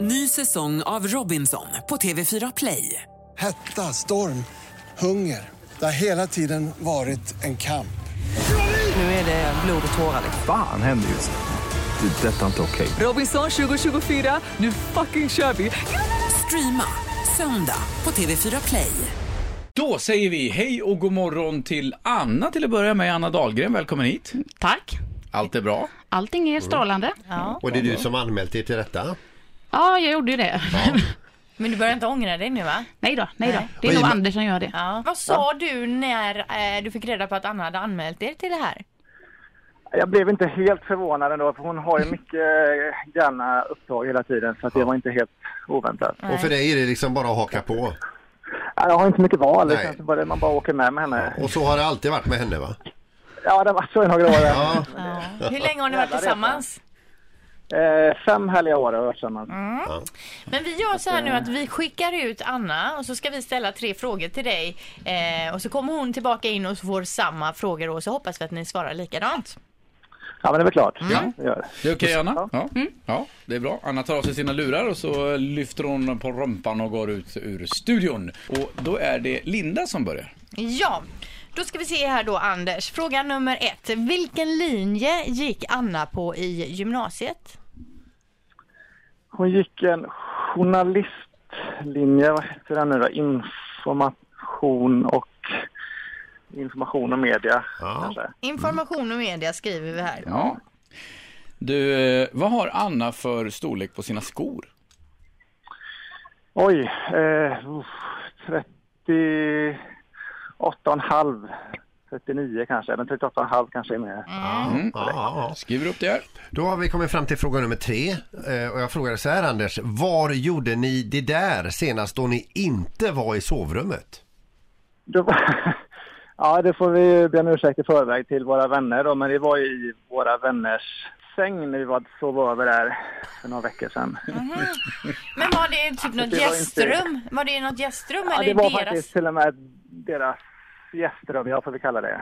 Ny säsong av Robinson på TV4 Play. Hetta, storm, hunger. Det har hela tiden varit en kamp. Nu är det blod och tårar. liksom. Fan händer just nu. Det. är Detta är inte okej. Robinson 2024, nu fucking kör vi! Streama söndag på TV4 Play. Då säger vi hej och god morgon till Anna till att börja med. Anna Dahlgren, välkommen hit. Tack. Allt är bra. Allting Mm. är strålande. Ja, Och det är du som anmält dig till detta. jag gjorde ju det. Men du börjar inte ångra dig nu va? nej då, nej då. Det Vad är nog är- Anders som gör det. Ja. Vad sa du när eh, du fick reda på att Anna hade anmält er till det här? Jag blev inte helt förvånad ändå, för hon har ju mycket eh, granna uppdrag hela tiden, så att det var inte helt oväntat. Nej. Och för dig är det liksom bara att haka på. Ja, Jag har inte så mycket val, det Nej. känns bara, man bara åker med med henne. Och så har det alltid varit med henne va? Ja, det var så i några år. Ja. Ja. Hur länge har ni varit Jävlar, tillsammans? Eh, fem härliga år har vi varit tillsammans. Men vi gör så här eh, nu att vi skickar ut Anna och så ska vi ställa tre frågor till dig. Eh, och så kommer hon tillbaka in och så får samma frågor och så hoppas vi att ni svarar likadant. Ja, men det är väl klart. Ja. Det gör det. Det är okej Anna? Ja. ja, det är bra. Anna tar av sig sina lurar och så lyfter hon på rumpan och går ut ur studion. Och då är det Linda som börjar. Ja, då ska vi se här då Anders. Fråga nummer ett. Vilken linje gick Anna på i gymnasiet? Hon gick en journalistlinje, vad heter den nu då? Information och information och media. Ja. kanske. Information och media skriver vi här. Ja. Du, eh, vad har Anna för storlek på sina skor? Oj, eh, uff, 38,5. 39 kanske, men 38,5 kanske är mer. Ja, ja, ja. Skriver upp det här. Då har vi kommit fram till fråga nummer tre. Eh, Och jag frågade så här Anders, var gjorde ni det där senast då ni inte var i sovrummet? Då, ja, det får vi be om ursäkt i förväg till våra vänner då, men det var ju i våra vänners säng när vi var, sov över där för några veckor sedan. Men var det typ något Alltså, Det var inte- gästrum? Var det något gästrum Ja, eller det var deras? faktiskt till och med deras gästrum, ja får vi kalla det.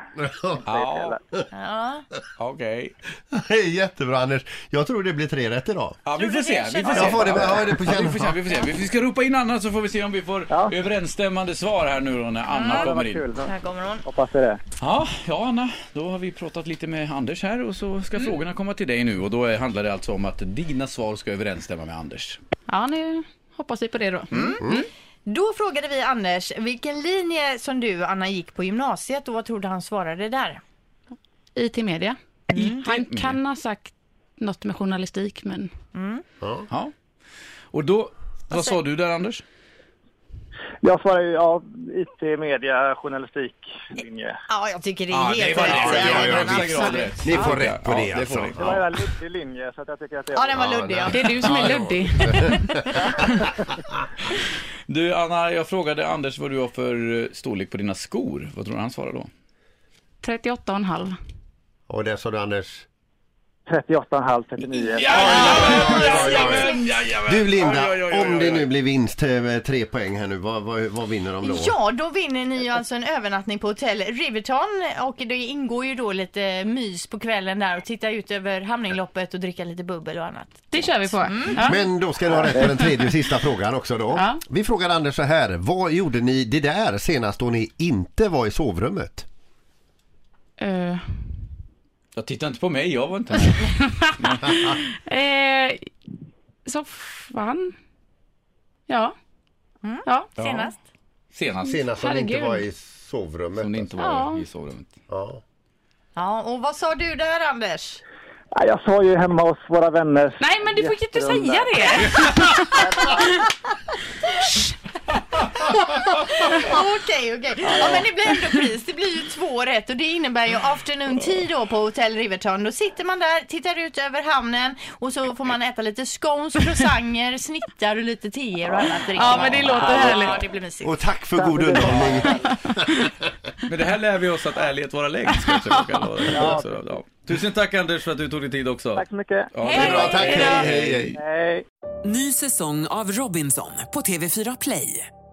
Ja, Ja. okej. Det är Jättebra Anders. Jag tror det blir tre rätt idag. Ja, vi får se. Vi får se. Jag får det, jag har det på Ja, vi, får se, känn. vi, får se. vi ska ropa in Anna så får vi se om vi får Ja. överensstämmande svar här nu då när Anna Det var kommer in. kul. Då. Här kommer hon. Hoppas det är det. Ja, ja Anna, då har vi pratat lite med Anders här och så ska frågorna komma till dig nu och då eh, handlar det alltså om att dina svar ska överensstämma med Anders. Ja, nu hoppas vi på det då. Mm. Då frågade vi Anders vilken linje som du Anna gick på gymnasiet och vad tror du han svarade där? IT-media. Han kan ha sagt något med journalistik, men Ja. Och då, vad sa du där Anders? Jag svarar ju ja, IT, media, journalistiklinje. Ja, jag tycker det är det helt var rätt. det. Ja, Ja, ja, den visst. absolut. Ja, det är Ni får rätt på Ja, det det får alltså. vi. Det var ju en luddig linje så att jag tycker att det Ja, var... den var luddig. Ja. det är du som Ja, är det var- luddig. Du Anna, jag frågade Anders vad du har för eh, storlek på dina skor. Vad tror du han svarar då? 38,5. Och där sa du Anders. 38,5, 39. Du Linda, Oj, oj, oj, oj, om det oj. nu blir vinst, eh, tre poäng här nu, vad, vad, vad vinner de då? Ja, då vinner ni ju alltså en övernattning på hotell Riverton och det ingår ju då lite mys på kvällen där och titta ut över hamningloppet och dricka lite bubbel och annat. Det kör vi på. Mm. Ja. Men då ska du ha rätt på den tredje och sista frågan också då. Ja. Vi frågar Anders så här, vad gjorde ni det där senast då ni inte var i sovrummet? Eh, Jag tittar inte på mig, jag var inte här. eh, soffan. Ja. Ja. Ja. Mm. Senast? Senast. Senast som ni inte Herregud. var i sovrummet. Som det inte var Ja. i sovrummet. Ja. Ja, och vad sa du där Anders? Ja, jag sa ju hemma hos våra vänner. Nej, men du får ju inte säga det. Okej, okej. Ja, men det blir ändå pris. Det blir ju två rätt och det innebär ju afternoon tea då på Hotel Riverton. Då sitter man där, tittar ut över hamnen och så får man äta lite scones, croissanter, snittar och lite teer och annat. dricker Ja, man. men det låter härligt. Ja, det blir mysigt. Och tack för god underhållning. Men det här lär vi oss att ärlighet vara längst. ska jag försöka lova. Så, ja. Tusen tack Anders för att du tog dig tid också. Tack så mycket. Ja, det är Hej. bra. Bra, tack, hej, hej, hej. Hej. Ny säsong av Robinson på TV4 Play.